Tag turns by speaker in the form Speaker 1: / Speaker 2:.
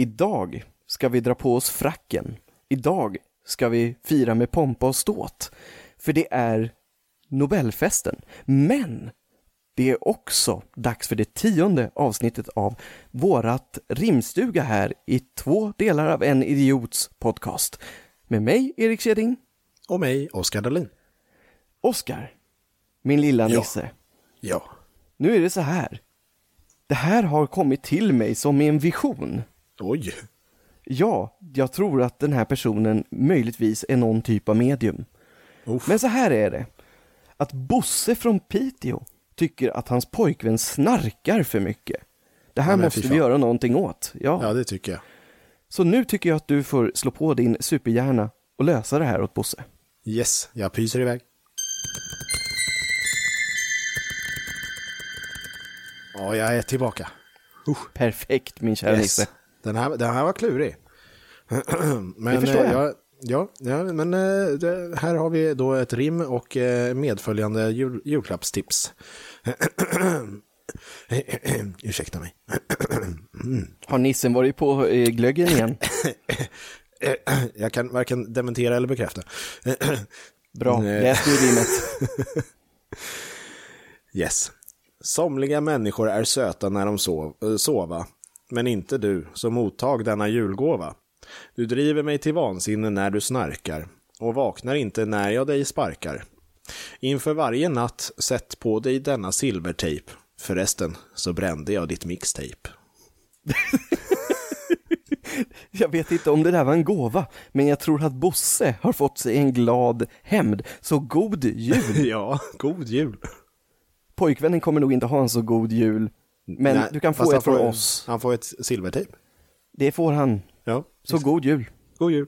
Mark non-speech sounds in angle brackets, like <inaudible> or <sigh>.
Speaker 1: Idag ska vi dra på oss fracken. Idag ska vi fira med pompa och ståt. För det är Nobelfesten. Men det är också dags för det tionde avsnittet av vårat rimstuga här i två delar av en idiots podcast. Med mig, Erik Kjeding.
Speaker 2: Och mig, Oskar Dahlin.
Speaker 1: Oskar, min lilla
Speaker 2: Ja.
Speaker 1: Nisse.
Speaker 2: Ja.
Speaker 1: Nu är det så här. Det här har kommit till mig som en vision.
Speaker 2: Oj.
Speaker 1: Ja, jag tror att den här personen möjligtvis är någon typ av medium.
Speaker 2: Uff.
Speaker 1: Men så här är det. Att Bosse från Piteå tycker att hans pojkvän snarkar för mycket. Det här
Speaker 2: men
Speaker 1: måste
Speaker 2: fy
Speaker 1: vi
Speaker 2: fan.
Speaker 1: göra någonting åt. Ja.
Speaker 2: Ja, det tycker jag.
Speaker 1: Så nu tycker jag att du får slå på din superhjärna och lösa det här åt Bosse.
Speaker 2: Yes, jag pyser iväg. Ja, jag är tillbaka.
Speaker 1: Perfekt min kära
Speaker 2: Yes.
Speaker 1: Nisse.
Speaker 2: Den, här, den här var klurig. <clears throat> men,
Speaker 1: Det förstår
Speaker 2: eh,
Speaker 1: jag.
Speaker 2: Ja, ja, men eh, det, här har vi då ett rim och eh, medföljande jul, julklappstips. <clears throat> Ursäkta mig.
Speaker 1: Har nissen varit på eh, glöggen igen?
Speaker 2: Jag kan varken dementera eller bekräfta.
Speaker 1: <laughs>
Speaker 2: <clears throat>
Speaker 1: Bra,
Speaker 2: Nej.
Speaker 1: läs nu rimmet.
Speaker 2: Yes. Somliga människor är söta när de sov, eh, sova, men inte du, som mottag denna julgåva. Du driver mig till vansinne när du snarkar och vaknar inte när jag dig sparkar. Inför varje natt sätt på dig denna silvertejp. Förresten så brände jag
Speaker 1: <laughs>
Speaker 2: ditt mixtape.
Speaker 1: Jag vet inte om det där var en gåva, men jag tror att Bosse har fått sig en glad hämnd. Så god jul!
Speaker 2: ja, god jul.
Speaker 1: Pojkvännen kommer nog inte ha en så god jul, men
Speaker 2: Nej,
Speaker 1: du kan få
Speaker 2: fast han
Speaker 1: ett från
Speaker 2: får-
Speaker 1: oss.
Speaker 2: Han får ett silvertejp.
Speaker 1: Det får han.
Speaker 2: Ja,
Speaker 1: Så god jul!
Speaker 2: god jul.